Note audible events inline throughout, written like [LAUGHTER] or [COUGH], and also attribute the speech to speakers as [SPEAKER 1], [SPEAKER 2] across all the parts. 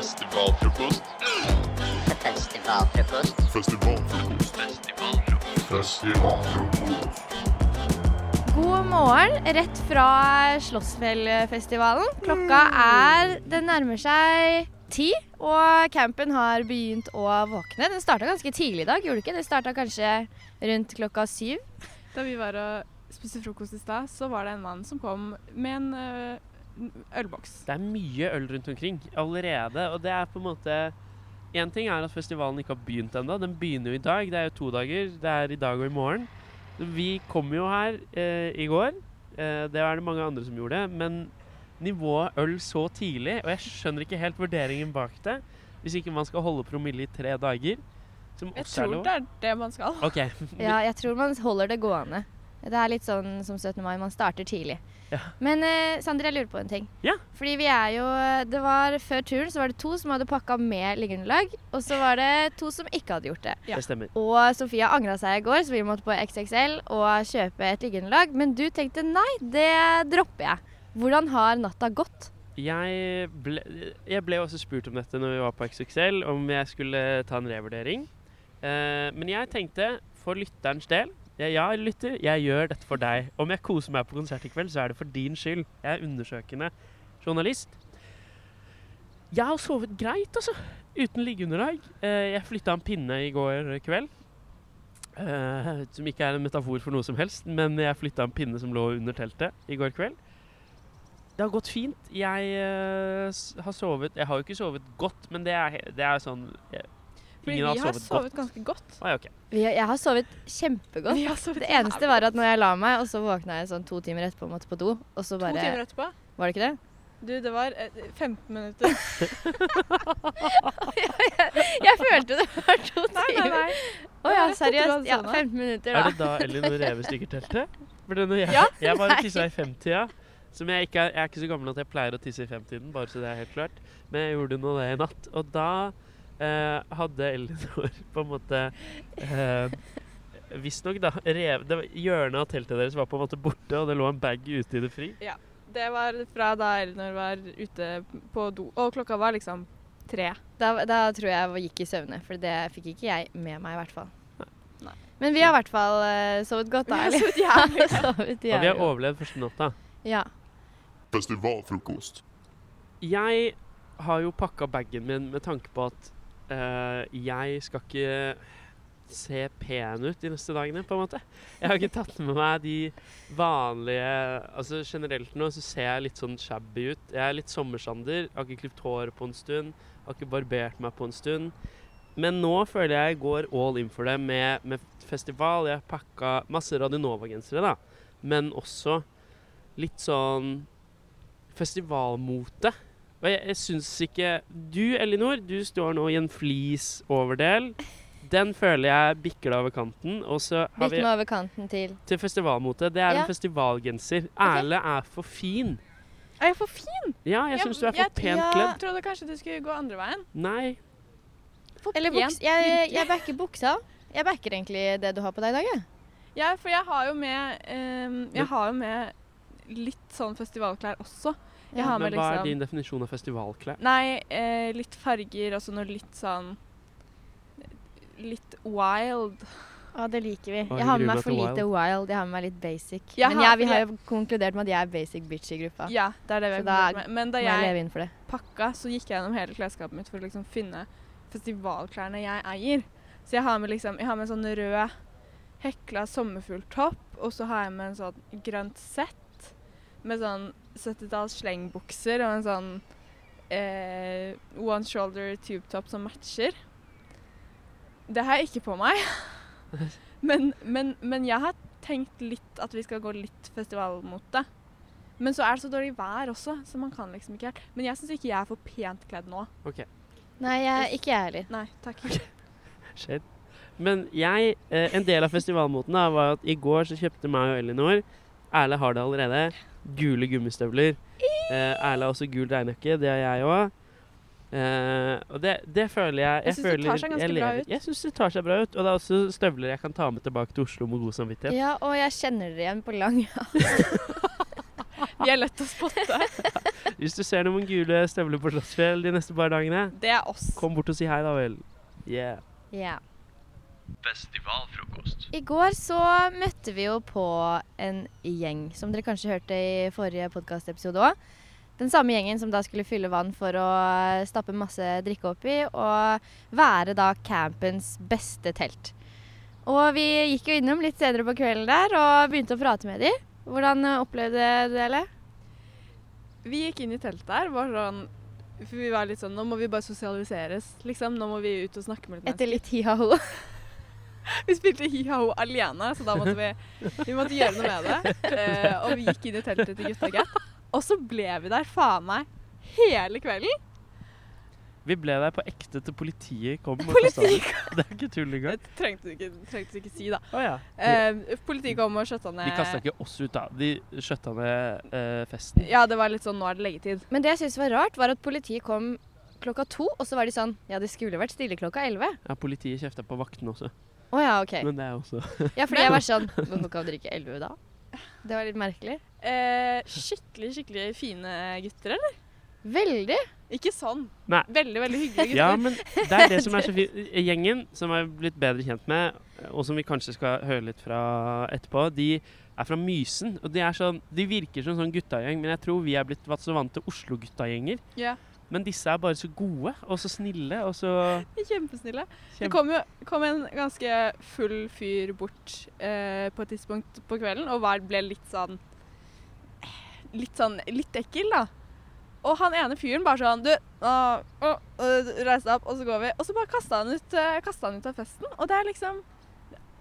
[SPEAKER 1] Festivalfrokost.
[SPEAKER 2] Festivalfrokost.
[SPEAKER 1] Festivalfrokost. Festivalfrokost.
[SPEAKER 3] God morgen, rett fra Slåssfjellfestivalen. Klokka er Det nærmer seg ti, og campen har begynt å våkne. Den starta ganske tidlig i dag, gjorde den ikke? Det starta kanskje rundt klokka syv.
[SPEAKER 4] Da vi var og spiste frokost i stad, så var det en mann som kom med en øh, n- ølboks.
[SPEAKER 5] Det er mye øl rundt omkring allerede, og det er på en måte En ting er at festivalen ikke har begynt ennå. Den begynner jo i dag. Det er jo to dager. Det er i dag og i morgen. Vi kom jo her eh, i går. Eh, det var det mange andre som gjorde. Men nivået øl så tidlig, og jeg skjønner ikke helt vurderingen bak det. Hvis ikke man skal holde promille i tre dager, som
[SPEAKER 4] Jeg
[SPEAKER 5] også er
[SPEAKER 4] tror
[SPEAKER 5] lov.
[SPEAKER 4] det er det man skal.
[SPEAKER 5] OK.
[SPEAKER 3] Ja, jeg tror man holder det gående. Det er litt sånn som 17. mai, man starter tidlig.
[SPEAKER 5] Ja.
[SPEAKER 3] Men eh, Sander, jeg lurer på en ting.
[SPEAKER 5] Ja.
[SPEAKER 3] Fordi vi er jo eh, Det var før turen så var det to som hadde pakka med liggeunderlag, og så var det to som ikke hadde gjort det.
[SPEAKER 4] Ja.
[SPEAKER 5] Det stemmer.
[SPEAKER 3] Og Sofia angra seg i går, så vi måtte på XXL og kjøpe et liggeunderlag. Men du tenkte nei, det dropper jeg. Hvordan har natta gått?
[SPEAKER 5] Jeg ble, jeg ble også spurt om dette når vi var på XXL, om jeg skulle ta en revurdering. Eh, men jeg tenkte, for lytterens del jeg, Ja, lytter, jeg gjør dette for deg. Om jeg koser meg på konsert i kveld, så er det for din skyld. Jeg er undersøkende journalist. Jeg har sovet greit, altså. Uten liggeunderlag. Eh, jeg flytta en pinne i går kveld. eh, som ikke er en metafor for noe som helst, men jeg flytta en pinne som lå under teltet i går kveld. Det har gått fint. Jeg eh, s- har sovet Jeg har jo ikke sovet godt, men det er, he- det er sånn jeg,
[SPEAKER 4] Fordi
[SPEAKER 5] Ingen
[SPEAKER 4] vi
[SPEAKER 5] har
[SPEAKER 4] har
[SPEAKER 5] sovet
[SPEAKER 4] sovet
[SPEAKER 5] godt.
[SPEAKER 4] ganske godt.
[SPEAKER 5] Å, ja, ok.
[SPEAKER 3] Vi- Jeg har sovet kjempegodt.
[SPEAKER 4] Vi har sovet
[SPEAKER 3] Det eneste
[SPEAKER 4] jævlig
[SPEAKER 3] var at
[SPEAKER 4] godt.
[SPEAKER 3] når jeg la meg, og så våkna jeg sånn to timer etterpå og måtte på do, og så
[SPEAKER 4] To timer
[SPEAKER 3] bare
[SPEAKER 4] etterpå.
[SPEAKER 3] Var det ikke det?
[SPEAKER 4] Du, det var eh, 15 minutter.
[SPEAKER 3] Jeg følte det var to timer.
[SPEAKER 4] [LAUGHS] Nei, nei, nei.
[SPEAKER 3] Å ja,
[SPEAKER 4] Jeg trodde du
[SPEAKER 3] seriøst.
[SPEAKER 4] hadde
[SPEAKER 3] Ja,
[SPEAKER 4] sovna.
[SPEAKER 3] 15 minutter,
[SPEAKER 5] Er
[SPEAKER 3] da.
[SPEAKER 5] det da Elin og revestykker-teltet? Jeg,
[SPEAKER 3] Ja,
[SPEAKER 5] jeg bare
[SPEAKER 3] [LAUGHS] nei.
[SPEAKER 5] tissa i femtida. Som jeg, ikke er, jeg er ikke så gammel at jeg pleier å tisse i femtiden, bare så det er helt klart. Men jeg gjorde nå det i natt. Og da eh, hadde [LAUGHS] Elinor på en måte eh, Visstnok, da. Rev, det var, hjørnet av teltet deres var på en måte borte, og det lå en bag ute i det fri.
[SPEAKER 4] Det var fra da Elinor var ute på do, og klokka var liksom tre.
[SPEAKER 3] Da, da tror jeg jeg gikk i søvne, for det fikk ikke jeg med meg, i hvert fall.
[SPEAKER 4] Nei.
[SPEAKER 3] Men vi har i hvert fall eh, sovet godt,
[SPEAKER 4] Vi [LAUGHS]
[SPEAKER 3] da.
[SPEAKER 4] har
[SPEAKER 3] Eller? [LAUGHS]
[SPEAKER 4] sovet jævlig godt.
[SPEAKER 3] sovet
[SPEAKER 5] Og vi
[SPEAKER 3] jævlig
[SPEAKER 5] har
[SPEAKER 3] godt.
[SPEAKER 5] overlevd første natta.
[SPEAKER 3] Ja.
[SPEAKER 1] Festivalfrokost.
[SPEAKER 5] Jeg har jo pakka bagen min med tanke på at eh, jeg skal ikke se pen ut de neste dagene, på en måte. Jeg har ikke tatt med meg de vanlige Altså generelt nå så ser jeg litt sånn shabby ut. Jeg er litt sommersander. Har ikke klipt håret på en stund. Har ikke barbert meg på en stund. Men nå føler jeg jeg går all in for det med, med festival. Jeg har pakka masse Radionova-gensere, da. Men også litt sånn festivalmote. Og jeg, jeg syns ikke Du, Elinor, du står nå i en flis overdel. Den føler jeg bikker deg over kanten. Og så har
[SPEAKER 3] Bitt
[SPEAKER 5] vi
[SPEAKER 3] meg over kanten til
[SPEAKER 5] til festivalmote. Det er
[SPEAKER 3] Ja.
[SPEAKER 5] en festivalgenser. Erle er for fin.
[SPEAKER 4] Er jeg for fin?
[SPEAKER 5] Ja, jeg syns du er for pent
[SPEAKER 4] Jeg
[SPEAKER 5] kledd.
[SPEAKER 4] trodde kanskje du skulle gå andre veien.
[SPEAKER 5] Nei.
[SPEAKER 4] For
[SPEAKER 3] Eller
[SPEAKER 4] pent,
[SPEAKER 3] buks, jeg,
[SPEAKER 4] virkelig.
[SPEAKER 3] jeg backer buksa. Jeg backer egentlig det du har på deg i dag. Jeg.
[SPEAKER 4] Ja, for jeg har jo med ehm, Jeg har jo med litt sånn festivalklær også. Jeg
[SPEAKER 3] Ja,
[SPEAKER 4] har med
[SPEAKER 5] Men hva er
[SPEAKER 4] liksom
[SPEAKER 5] din definisjon av festivalklær?
[SPEAKER 4] Nei, eh, litt farger og så noe litt sånn Litt wild.
[SPEAKER 3] Å, det liker vi.
[SPEAKER 5] Å,
[SPEAKER 3] Jeg har med
[SPEAKER 5] gruer
[SPEAKER 3] meg
[SPEAKER 5] meg
[SPEAKER 3] for
[SPEAKER 5] til
[SPEAKER 3] lite wild, jeg har med meg litt basic.
[SPEAKER 4] Jeg
[SPEAKER 3] Men
[SPEAKER 4] har-
[SPEAKER 3] jeg, vi har jo konkludert med at jeg er basic bitch i gruppa.
[SPEAKER 4] Ja, det er det vi
[SPEAKER 3] Så
[SPEAKER 4] har
[SPEAKER 3] da
[SPEAKER 4] kommet med. Men da
[SPEAKER 3] Må jeg
[SPEAKER 4] jeg
[SPEAKER 3] leve inn for det.
[SPEAKER 4] pakka, så gikk jeg gjennom hele klesskapet mitt for å liksom finne festivalklærne jeg eier. Så jeg har med liksom Jeg har med en sånn rød hekla sommerfugltopp, og så har jeg med en sånn grønt sett med sånn 70-talls slengbukser og en sånn eh, one shoulder tube top som matcher. Det har jeg ikke på meg. Men, men, men jeg har tenkt litt at vi skal gå litt festivalmote. Men så er det så dårlig vær også, så man kan liksom ikke helt. Men jeg syns ikke jeg er for pent kledd nå.
[SPEAKER 5] OK,
[SPEAKER 3] Nei, jeg, ikke jeg heller.
[SPEAKER 4] Nei, takk.
[SPEAKER 5] shade. Men jeg eh, En del av festivalmoten da var at i går så kjøpte meg og Elinor Erle har det allerede. Gule gummistøvler. Eh, Erle har også gul regnjakke. Det har jeg òg. Eh, og det, det føler jeg
[SPEAKER 4] Jeg syns det tar
[SPEAKER 5] føler-
[SPEAKER 4] seg
[SPEAKER 5] jeg
[SPEAKER 4] ganske bra
[SPEAKER 5] lever-
[SPEAKER 4] ut.
[SPEAKER 5] Jeg syns det tar seg bra ut. Og det er også støvler jeg kan ta med tilbake til Oslo med god samvittighet.
[SPEAKER 3] Ja, og jeg kjenner dere igjen på lang
[SPEAKER 4] De er lett å spotte. [LAUGHS]
[SPEAKER 5] Hvis du ser noen gule støvler på Slottsfjell de neste par dagene,
[SPEAKER 4] Det er oss.
[SPEAKER 5] kom bort og si hei, da vel. Yeah.
[SPEAKER 3] Ja.
[SPEAKER 5] Festivalfrokost.
[SPEAKER 3] I går så møtte vi jo på en gjeng, som dere kanskje hørte i forrige podkastepisode òg. Den samme gjengen som da skulle fylle vann for å stappe masse drikke oppi og være da campens beste telt. Og vi gikk jo innom litt senere på kvelden der og begynte å prate med de. Hvordan eh, opplevde du det, eller?
[SPEAKER 4] Vi gikk inn i teltet der, var sånn for vi var litt sånn Nå må vi bare sosialiseres, liksom. Nå må vi ut og snakke med litt
[SPEAKER 3] Etter litt hi-ha-ho.
[SPEAKER 4] Vi spilte hi-ha-ho alene, så da måtte vi, vi måtte gjøre noe med det. [LAUGHS] Eh, og vi gikk inn i teltet til gutta, gitt. Og så ble vi der faen meg hele kvelden.
[SPEAKER 5] Vi ble der på ekte til politiet kom. Politiet [LAUGHS] Det er ikke tull
[SPEAKER 4] Det
[SPEAKER 5] engang.
[SPEAKER 4] trengte du ikke, trengte du ikke si, da.
[SPEAKER 5] Å ja.
[SPEAKER 4] Eh, politiet kom og skjøtta ned
[SPEAKER 5] De kasta ikke oss ut, da. De skjøtta ned eh, festen.
[SPEAKER 4] Ja, det var litt sånn Nå er det leggetid.
[SPEAKER 3] [LAUGHS] Men det jeg syntes var rart, var at politiet kom klokka to, og så var de sånn Ja, det skulle vært stille klokka elleve.
[SPEAKER 5] Ja, Politiet kjefta på vaktene også,
[SPEAKER 3] Å ja, OK.
[SPEAKER 5] men det er også
[SPEAKER 3] Ja, fordi jeg var sånn Men nå kan dere ikke 11 da? Det var litt merkelig.
[SPEAKER 4] Eh, skikkelig, skikkelig fine gutter, eller?
[SPEAKER 3] Veldig.
[SPEAKER 4] Ikke sånn.
[SPEAKER 5] Nei.
[SPEAKER 4] Veldig, veldig hyggelige gutter.
[SPEAKER 5] Ja, men det er det som er så fint. Eh, Gjengen som er blitt bedre kjent med, og som vi kanskje skal høre litt fra etterpå, de er fra Mysen. Og de, er sånn, de virker som sånn guttagjeng, men jeg tror vi er blitt vært så vant til Oslo-guttagjenger.
[SPEAKER 4] Ja.
[SPEAKER 5] Men disse er bare så gode og så snille og så
[SPEAKER 4] De er Kjempesnille. Det
[SPEAKER 5] Kjempe-
[SPEAKER 4] kom, jo, kom en ganske full fyr bort eh, på et tidspunkt på kvelden og var, ble litt sånn Litt sånn litt ekkel, da. Og han ene fyren bare sånn Du, nå å, øh, reis deg opp, og så går vi. Og så bare kasta han, ut, eh, kastet han ut av festen. Og det er liksom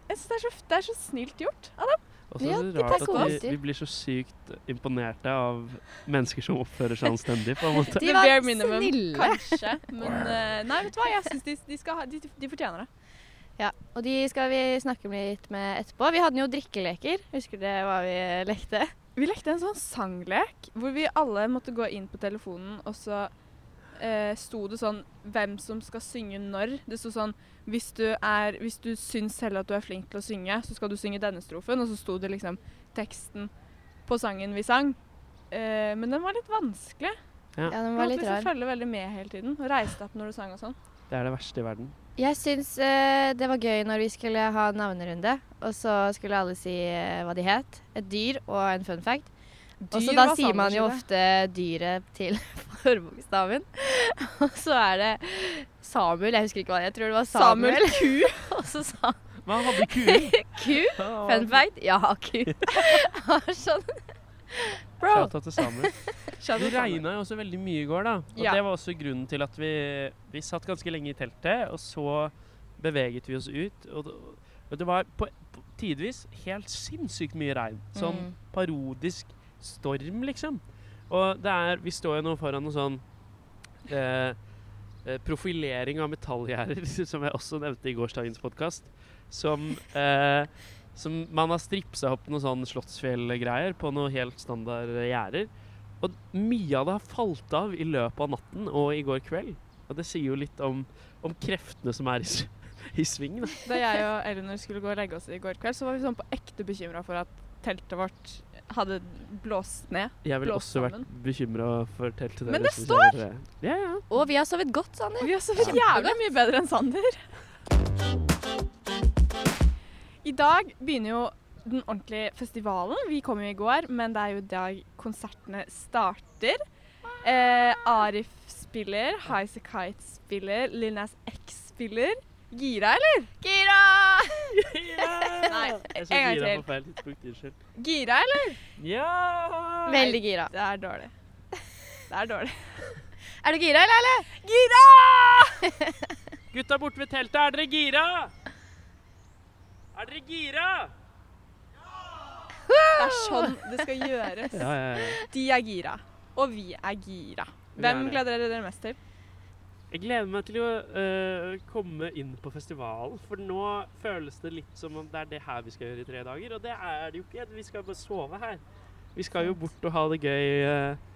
[SPEAKER 4] Jeg synes det er, så, det er så snilt gjort. av dem.
[SPEAKER 5] Og så
[SPEAKER 3] Ja,
[SPEAKER 5] er det
[SPEAKER 3] de
[SPEAKER 5] rart
[SPEAKER 3] passer
[SPEAKER 5] at vi,
[SPEAKER 3] alltid.
[SPEAKER 5] vi blir så sykt imponerte av mennesker som oppfører seg anstendig, på en
[SPEAKER 3] [LAUGHS]
[SPEAKER 5] måte.
[SPEAKER 3] De
[SPEAKER 4] The
[SPEAKER 3] var
[SPEAKER 4] bare minimum,
[SPEAKER 3] snille.
[SPEAKER 4] Kanskje. Men eh, nei, vet du hva? Jeg syns de, de, skal ha, de, de fortjener det.
[SPEAKER 3] Ja, Og de skal vi snakke litt med etterpå. Vi hadde jo drikkeleker. Husker dere hva vi lekte?
[SPEAKER 4] Vi lekte en sånn sanglek hvor vi alle måtte gå inn på telefonen, og så eh, sto det sånn hvem som skal synge når. Det sto sånn hvis du, er, hvis du syns selv at du er flink til å synge, så skal du synge denne strofen. Og så sto det liksom teksten på sangen vi sang. Eh, men den var litt vanskelig.
[SPEAKER 3] Ja,
[SPEAKER 5] Ja.
[SPEAKER 4] Du
[SPEAKER 3] den var
[SPEAKER 4] måtte
[SPEAKER 3] litt
[SPEAKER 4] liksom
[SPEAKER 3] rar.
[SPEAKER 4] følge veldig med hele tiden. Og reise deg opp når du sang og sånn.
[SPEAKER 5] Det er det verste i verden.
[SPEAKER 3] Jeg syns eh, det var gøy når vi skulle ha navnerunde, og så skulle alle si eh, hva de het. Et dyr og en fun fact. Og så
[SPEAKER 4] Dyr
[SPEAKER 3] da
[SPEAKER 4] var
[SPEAKER 3] sier man jo
[SPEAKER 4] Sanders
[SPEAKER 3] ofte dyret til [LAUGHS] forbokstaven. Og så er det Samuel, jeg husker ikke hva det er, jeg tror det var Samuel.
[SPEAKER 4] Samuel Ku.
[SPEAKER 3] [LAUGHS] Og så sa
[SPEAKER 5] Hva hadde kuen?
[SPEAKER 3] han ku. [LAUGHS] Fun fact, jeg har ku. [LAUGHS] Har sånn Bro.
[SPEAKER 5] Shout-out
[SPEAKER 3] [LAUGHS]
[SPEAKER 5] til Samuel. Det
[SPEAKER 4] Skjønner du, Samuel?
[SPEAKER 5] regna jo også veldig mye i går, da. Og
[SPEAKER 4] Ja.
[SPEAKER 5] det var også grunnen til at vi, vi satt ganske lenge i teltet, og så beveget vi oss ut. Og det, og det var på, på tidvis helt sinnssykt mye regn. Sånn
[SPEAKER 3] Mm.
[SPEAKER 5] parodisk storm, liksom. Og det er Vi står jo nå foran noe sånn eh, eh, profilering av metallgjerder, [LAUGHS] som jeg også nevnte i gårsdagens podkast, som eh, som man har stripsa opp noen sånn Slottsfjell-greier på noen helt standard gjerder. Og mye av det har falt av i løpet av natten og i går kveld. Og det sier jo litt om, om kreftene som er i, s- i sving. Da.
[SPEAKER 4] Da jeg og Elinor skulle gå og legge oss i går kveld, så var vi sånn på ekte bekymra for at teltet vårt hadde blåst ned.
[SPEAKER 5] Jeg ville
[SPEAKER 4] Blåst
[SPEAKER 5] også vært bekymra for teltet deres.
[SPEAKER 4] Men det
[SPEAKER 5] hvis jeg var dere. Ja, [LAUGHS] ja.
[SPEAKER 3] Og vi har sovet godt, Sanne.
[SPEAKER 4] Vi har sovet jævlig mye bedre enn Sander. I dag begynner jo den ordentlige festivalen. Vi kom jo i går, men det er jo i dag konsertene starter. Eh, Arif spiller, Highasakite Kite spiller, Linas X spiller. Gira, eller?
[SPEAKER 3] Gira!
[SPEAKER 4] Nei,
[SPEAKER 5] Jeg
[SPEAKER 4] en gang til.
[SPEAKER 5] på feil tidspunkt. Unnskyld.
[SPEAKER 4] Gira, eller?
[SPEAKER 5] Ja!
[SPEAKER 3] Veldig gira.
[SPEAKER 4] Det er dårlig. Det er dårlig.
[SPEAKER 3] Er du gira, eller? eller?
[SPEAKER 4] Gira!
[SPEAKER 5] Gutta borte ved teltet, er dere gira? Er dere gira?
[SPEAKER 4] Det er sånn det skal gjøres.
[SPEAKER 5] Ja, ja, ja.
[SPEAKER 4] De er gira, og vi er gira.
[SPEAKER 5] Vi
[SPEAKER 4] Hvem
[SPEAKER 5] er det.
[SPEAKER 4] gleder dere dere mest til?
[SPEAKER 5] Jeg gleder meg til å øh, komme inn på festivalen, for nå føles det litt som om det er det her vi skal gjøre i tre dager, og det er det jo ikke. Vi skal bare sove her. Vi skal jo bort og ha det gøy øh,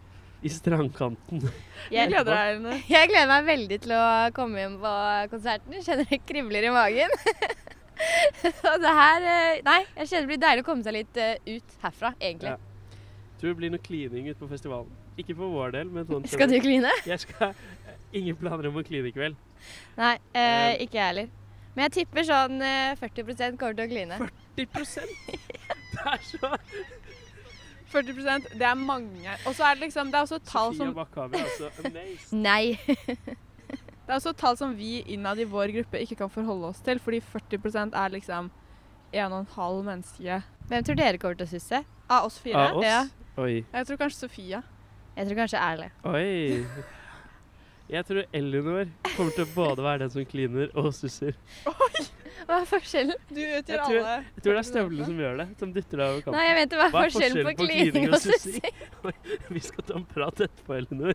[SPEAKER 5] i strandkanten.
[SPEAKER 4] Jeg
[SPEAKER 3] Jeg,
[SPEAKER 4] gleder deg, Eline.
[SPEAKER 3] jeg gleder meg veldig til å komme hjem på konserten. Jeg Kjenner det kribler i [LAUGHS] magen. [LAUGHS] Og det her eh, Nei, jeg kjenner det blir deilig å komme seg litt eh, ut herfra, egentlig.
[SPEAKER 5] Ja. tror det blir noe klining ute på festivalen. Ikke for vår del, men sånn
[SPEAKER 3] Skal du kline?
[SPEAKER 5] Jeg skal Ingen planer om å kline i kveld. [LAUGHS]
[SPEAKER 3] Nei, eh,
[SPEAKER 5] Eh,
[SPEAKER 3] ikke jeg heller. Men jeg tipper sånn eh, 40 kommer til å kline.
[SPEAKER 5] 40 Det er så
[SPEAKER 4] 40 det er mange. Og så er det liksom Det er også tall
[SPEAKER 3] sånn-
[SPEAKER 5] Sofia
[SPEAKER 4] som
[SPEAKER 5] Bakkhavet er altså amazed.
[SPEAKER 3] Nei.
[SPEAKER 4] Det er også tall som vi innad i vår gruppe ikke kan forholde oss til, fordi 40 er liksom 1,5 menneske
[SPEAKER 3] Hvem tror dere kommer til å susse?
[SPEAKER 4] av oss fire.
[SPEAKER 5] Av oss?
[SPEAKER 4] Ja.
[SPEAKER 5] Oi.
[SPEAKER 4] Jeg tror kanskje Sofia.
[SPEAKER 3] Jeg tror kanskje Erle.
[SPEAKER 5] Oi. Jeg tror Elinor kommer til å både være den som kliner og susser.
[SPEAKER 3] Hva er forskjellen?
[SPEAKER 4] Du utgjør
[SPEAKER 5] Jeg tror-
[SPEAKER 4] alle
[SPEAKER 5] Jeg tror det er støvlene som gjør det, som dytter deg over
[SPEAKER 3] Nei,
[SPEAKER 5] kanten.
[SPEAKER 3] jeg mente hva er forskjellen på, klining og sussing?
[SPEAKER 5] [LAUGHS] Vi skal ta en prat etterpå, Elinor.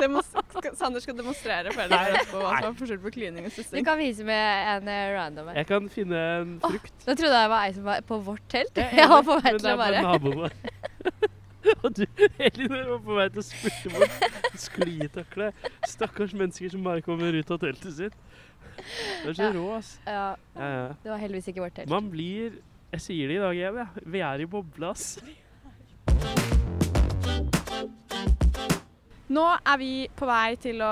[SPEAKER 4] Demos skal- Sander skal demonstrere for dere etterpå hva som er forskjell på klining og
[SPEAKER 3] Du
[SPEAKER 4] sussing.
[SPEAKER 3] kan vise med en eh, random her.
[SPEAKER 5] Jeg kan finne en
[SPEAKER 3] Åh,
[SPEAKER 5] frukt.
[SPEAKER 3] Nå trodde jeg det var ei som var på vårt telt. [LAUGHS]
[SPEAKER 5] [LAUGHS] Jeg er
[SPEAKER 3] Jeg var på vei
[SPEAKER 5] enig, men
[SPEAKER 3] til å
[SPEAKER 5] Det
[SPEAKER 3] bare
[SPEAKER 5] er bare naboene. [LAUGHS] Og du, Elinor, var på vei til å spurte bort
[SPEAKER 4] [LAUGHS]
[SPEAKER 5] sklitakle. Stakkars mennesker som bare kommer ut av teltet sitt. Du er så
[SPEAKER 3] Ja.
[SPEAKER 5] rå, ass.
[SPEAKER 3] Ja,
[SPEAKER 5] Ja, ja.
[SPEAKER 3] det var heldigvis ikke vårt telt.
[SPEAKER 5] Man blir Jeg sier det i dag, Eve. ja. Vi er i bobla, ass.
[SPEAKER 4] Nå er vi på vei til å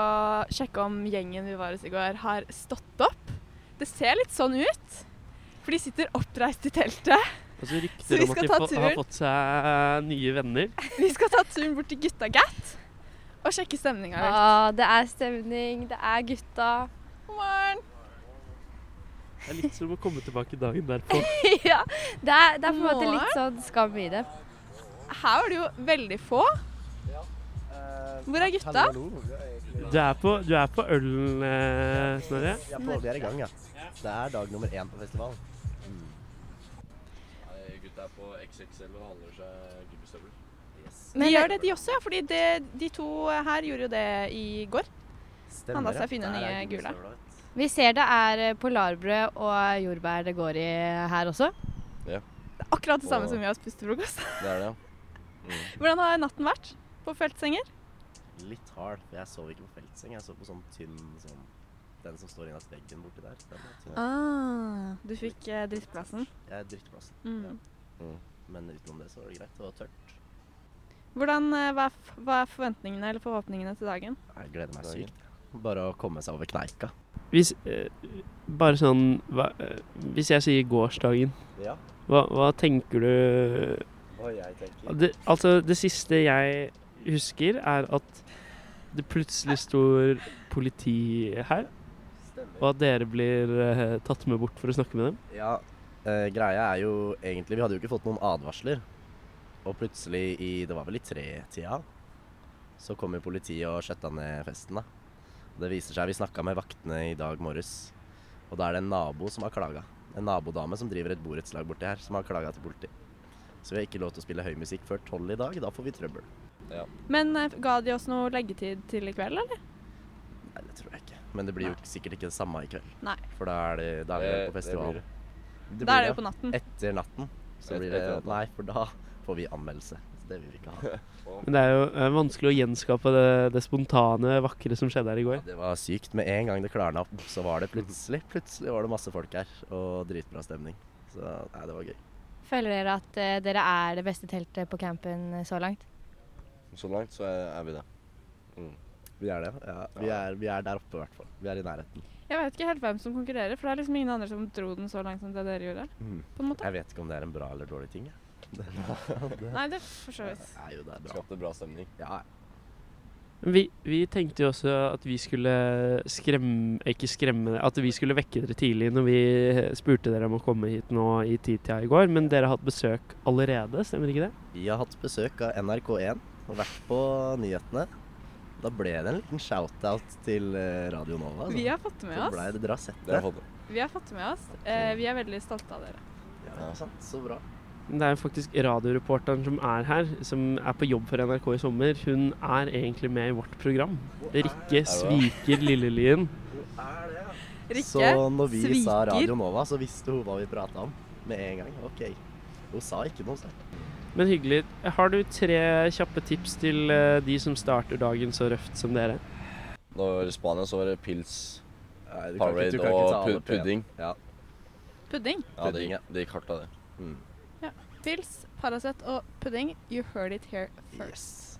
[SPEAKER 4] sjekke om gjengen vi var hos i går, har stått opp. Det ser litt sånn ut, for de sitter oppreist i teltet.
[SPEAKER 5] Og så
[SPEAKER 4] Så
[SPEAKER 5] rykter
[SPEAKER 4] vi
[SPEAKER 5] om at
[SPEAKER 4] skal
[SPEAKER 5] de
[SPEAKER 4] ta
[SPEAKER 5] få,
[SPEAKER 4] turen.
[SPEAKER 5] har fått seg eh, nye
[SPEAKER 4] [LAUGHS]
[SPEAKER 5] venner.
[SPEAKER 4] Vi skal ta turen bort til gutta Gatt og sjekke stemninga litt.
[SPEAKER 3] Ah, det er stemning, det er gutta.
[SPEAKER 4] God morgen!
[SPEAKER 5] Det er litt som å komme tilbake dagen derpå.
[SPEAKER 3] ja, det er, det er på en måte
[SPEAKER 4] Morgen.
[SPEAKER 3] litt sånn skam i det.
[SPEAKER 4] Her var det jo veldig få. Hvor er gutta?
[SPEAKER 5] Du er på, du er på ølen, eh, Snorre.
[SPEAKER 2] Ja, på, vi er i gang, ja. Det er dag nummer én på festivalen.
[SPEAKER 6] Gutta er på XXL og handler seg gummistøvler.
[SPEAKER 4] De gjør det, de også, ja, fordi det, de to her gjorde jo det i går.
[SPEAKER 2] Stemmer,
[SPEAKER 4] Han la seg finne
[SPEAKER 2] Der er
[SPEAKER 4] nye gule.
[SPEAKER 2] gummistøvler, vet du.
[SPEAKER 3] Vi ser det er eh, polarbrød og jordbær det går i her også.
[SPEAKER 4] Det er akkurat det samme
[SPEAKER 6] Åh.
[SPEAKER 4] som vi har spist til frokost. [LAUGHS]
[SPEAKER 6] Det er det, ja.
[SPEAKER 4] Hvordan har natten vært på feltsenger?
[SPEAKER 2] Litt hard. for Jeg sov ikke på feltseng. Jeg sov på sånn tynn sånn Den som står innast veggen borti der. Den var tynn.
[SPEAKER 4] Du fikk eh, drittplassen.
[SPEAKER 2] Jeg er drittplassen.
[SPEAKER 4] Mm.
[SPEAKER 2] Men utenom det så var det greit. Det var tørt.
[SPEAKER 4] Hvordan, eh, hva, er f- hva er forventningene eller forhåpningene til dagen?
[SPEAKER 2] Jeg gleder meg sykt. Bare å komme seg over kneika.
[SPEAKER 5] Hvis eh, Bare sånn hva, eh, Hvis jeg sier gårsdagen,
[SPEAKER 2] Ja.
[SPEAKER 5] hva, hva tenker du
[SPEAKER 2] Og jeg tenker
[SPEAKER 5] det, Altså, det siste jeg husker, er at det plutselig står politi her, og
[SPEAKER 2] Stemmer.
[SPEAKER 5] at dere blir eh, tatt med bort for å snakke med dem.
[SPEAKER 2] Ja, eh, greia er jo egentlig Vi hadde jo ikke fått noen advarsler. Og plutselig i Det var vel i tretida. Så kom jo politiet og skjøtta ned festen, da. Og det viser seg Vi snakka med vaktene i dag morges, og da er det en nabo som har klaga. En nabodame som driver et borettslag borti her, som har klaga til politiet. Så vi har ikke lov til å spille høy musikk før tolv i dag. Da får vi trøbbel.
[SPEAKER 4] Men eh, ga de oss noe leggetid til i kveld, eller?
[SPEAKER 2] Nei, det tror jeg ikke. Men det blir jo sikkert ikke det samme i kveld.
[SPEAKER 4] Nei.
[SPEAKER 2] For da er det, da er vi på festival.
[SPEAKER 6] Det,
[SPEAKER 2] Det
[SPEAKER 4] da
[SPEAKER 2] blir
[SPEAKER 4] er det
[SPEAKER 2] det.
[SPEAKER 4] jo på natten.
[SPEAKER 2] Etter natten så
[SPEAKER 6] Et-
[SPEAKER 2] blir det
[SPEAKER 6] etter natten.
[SPEAKER 2] Nei, for da får vi anmeldelse. Så det vil vi ikke ha.
[SPEAKER 5] Men det er jo eh, vanskelig å gjenskape det, det spontane, vakre som skjedde her i
[SPEAKER 2] Ja,
[SPEAKER 5] går.
[SPEAKER 2] Det var sykt. Med en gang det klarna opp, så var det plutselig plutselig var det masse folk her. Og dritbra stemning. Så nei, det var gøy.
[SPEAKER 3] Føler dere at eh, dere er det beste teltet på campen eh, så langt?
[SPEAKER 6] blir det. Så langt så er, er vi det. Mm.
[SPEAKER 2] Vi er det. Ja, vi, er, vi er der oppe, i hvert fall. Vi er i nærheten.
[SPEAKER 4] Jeg vet ikke helt hvem som konkurrerer, for det er liksom ingen andre som dro den så langt som det dere gjorde. på en måte.
[SPEAKER 2] Jeg vet ikke om det er en bra eller dårlig ting. jeg.
[SPEAKER 4] Nei, det for så vidt.
[SPEAKER 2] Nei, jo, det er bra.
[SPEAKER 6] Skapte bra stemning.
[SPEAKER 2] Ja,
[SPEAKER 5] Vi, vi tenkte jo også at vi skulle skremme Ikke skremme At vi skulle vekke dere tidlig når vi spurte dere om å komme hit nå i titida i går, men dere har hatt besøk allerede, stemmer ikke det?
[SPEAKER 2] vi har hatt besøk av NRK1 og vært på nyhetene. Da ble det en liten shout-out til eh, Radio Nova. altså.
[SPEAKER 4] Vi har fått med
[SPEAKER 2] Så
[SPEAKER 4] oss.
[SPEAKER 2] ble det dere har sett
[SPEAKER 6] Det
[SPEAKER 2] det.
[SPEAKER 6] har jeg fått med.
[SPEAKER 4] Vi har fått med oss. Eh, vi er veldig stolte av dere.
[SPEAKER 2] Ja, ikke sant? Så bra.
[SPEAKER 5] Det er jo faktisk radioreporteren som er her, som er på jobb for NRK i sommer. Hun er egentlig med i vårt program. Rikke sviker Lillelien.
[SPEAKER 4] Rikke
[SPEAKER 2] Så når vi sa
[SPEAKER 4] sviker.
[SPEAKER 2] Radio Nova, så visste hun hva vi prata om med en gang. OK. Hun sa ikke noe, så.
[SPEAKER 5] Men hyggelig. Har du tre kjappe tips til eh, de som starter dagen så røft som dere?
[SPEAKER 6] Da vi var i Spania, så var det pils,
[SPEAKER 2] Nei, du kan ikke- du
[SPEAKER 6] Powerade
[SPEAKER 2] kan ikke ta
[SPEAKER 6] og
[SPEAKER 2] alle
[SPEAKER 6] pu
[SPEAKER 2] på en.
[SPEAKER 6] pudding.
[SPEAKER 2] Ja.
[SPEAKER 4] pudding,
[SPEAKER 6] Ja, det
[SPEAKER 2] Pudding, ja.
[SPEAKER 6] gikk, det gikk hardt av det.
[SPEAKER 4] pils, Paracet og pudding. You heard it here first.
[SPEAKER 2] Yes.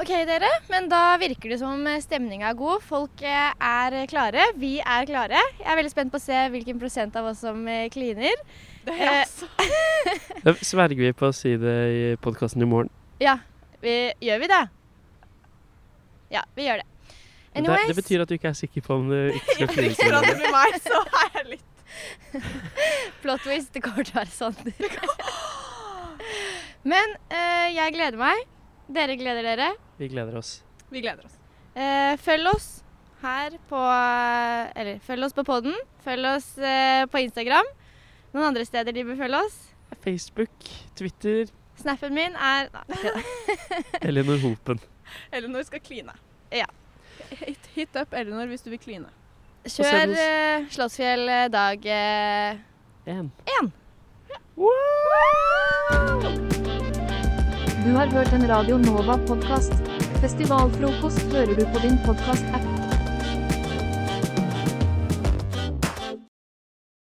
[SPEAKER 3] Ok, dere. Men da virker det som stemninga er god. Folk eh, er klare. Vi er klare. Jeg er veldig spent på å se hvilken prosent av oss som eh, kliner.
[SPEAKER 4] Det
[SPEAKER 3] er jeg
[SPEAKER 4] [LAUGHS]
[SPEAKER 5] Da sverger vi på å si det i podkasten i morgen.
[SPEAKER 3] Ja, vi, gjør vi det? Ja, vi gjør det.
[SPEAKER 5] Men Det, det betyr at du ikke er sikker på om du ikke skal kline. til
[SPEAKER 4] Tror at
[SPEAKER 5] hverandre.
[SPEAKER 4] det blir meg, så er jeg litt
[SPEAKER 3] Plot twist, det kommer til å være Sander. [LAUGHS] Men eh, jeg gleder meg. Dere gleder dere.
[SPEAKER 5] Vi gleder oss.
[SPEAKER 4] Vi gleder oss.
[SPEAKER 3] Eh, følg oss her på eh, Eller følg oss på podden. Følg oss eh, på Instagram. Noen andre steder de bør følge oss.
[SPEAKER 5] Facebook, Twitter,
[SPEAKER 3] Snappen min er Nei,
[SPEAKER 5] Elinor Hopen.
[SPEAKER 4] Elinor skal kline.
[SPEAKER 3] Ja.
[SPEAKER 4] Hit, hit up Elinor hvis du vil kline.
[SPEAKER 5] ser
[SPEAKER 3] Kjør
[SPEAKER 5] du-
[SPEAKER 3] eh, Slottsfjell eh, dag eh,
[SPEAKER 5] En.
[SPEAKER 7] Du har hørt en Radio Nova-podkast. Festivalfrokost hører du på din podkast-app.